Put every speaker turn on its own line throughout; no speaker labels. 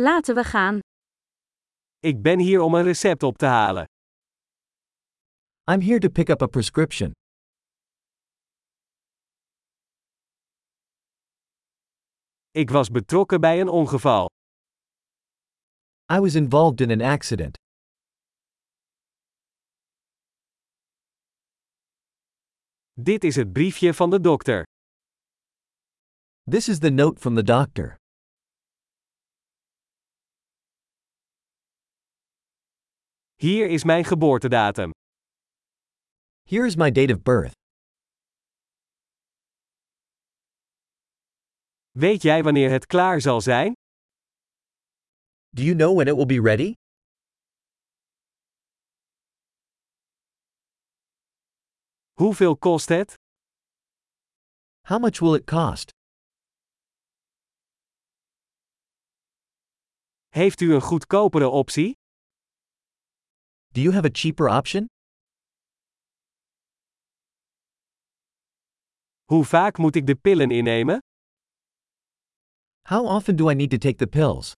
Laten we gaan.
Ik ben hier om een recept op te halen.
I'm here to pick up a prescription.
Ik was betrokken bij een ongeval.
I was involved in an accident.
Dit is het briefje van de dokter.
This is the note from the doctor.
Hier is mijn geboortedatum.
Here is my date of birth.
Weet jij wanneer het klaar zal zijn?
Do you know when it will be ready?
Hoeveel kost het?
How much will it cost?
Heeft u een goedkopere optie?
Do you have a cheaper option?
Hoe vaak moet ik de pillen innemen?
How often do I need to take the pills?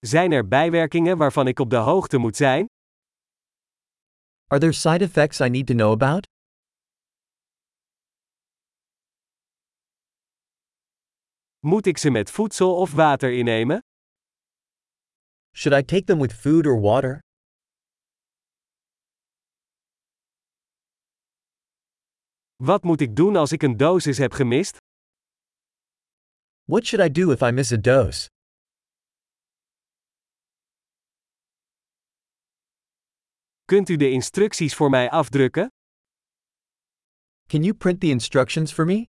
Zijn er bijwerkingen waarvan ik op de hoogte moet zijn?
Are there side effects I need to know about?
Moet ik ze met voedsel of water innemen?
Should I take them with food or water?
Wat moet ik doen als ik een dosis heb gemist?
What should I do if I miss a dose?
Kunt u de instructies voor mij afdrukken?
Can you print the instructions for me?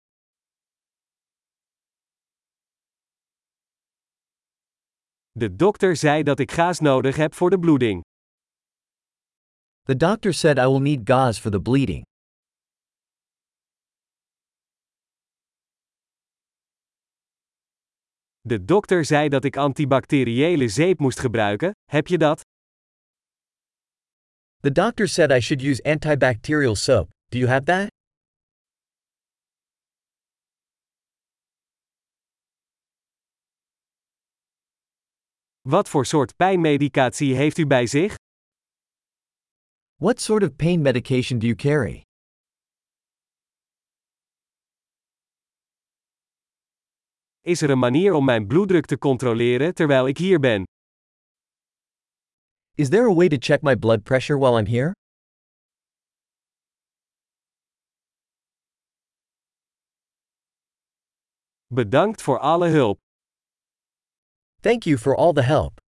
De dokter zei dat ik gaas nodig heb voor de bloeding.
The doctor said I will need gauze for the bleeding.
De dokter zei dat ik antibacteriële zeep moest gebruiken. Heb je dat?
The doctor said I should use antibacterial soap. Do you have that?
Wat voor soort pijnmedicatie heeft u bij zich?
What sort of pain medication do you carry?
Is er een manier om mijn bloeddruk te controleren terwijl ik hier ben?
Is there a way to check my blood pressure while I'm here?
Bedankt voor alle hulp.
Thank you for all the help.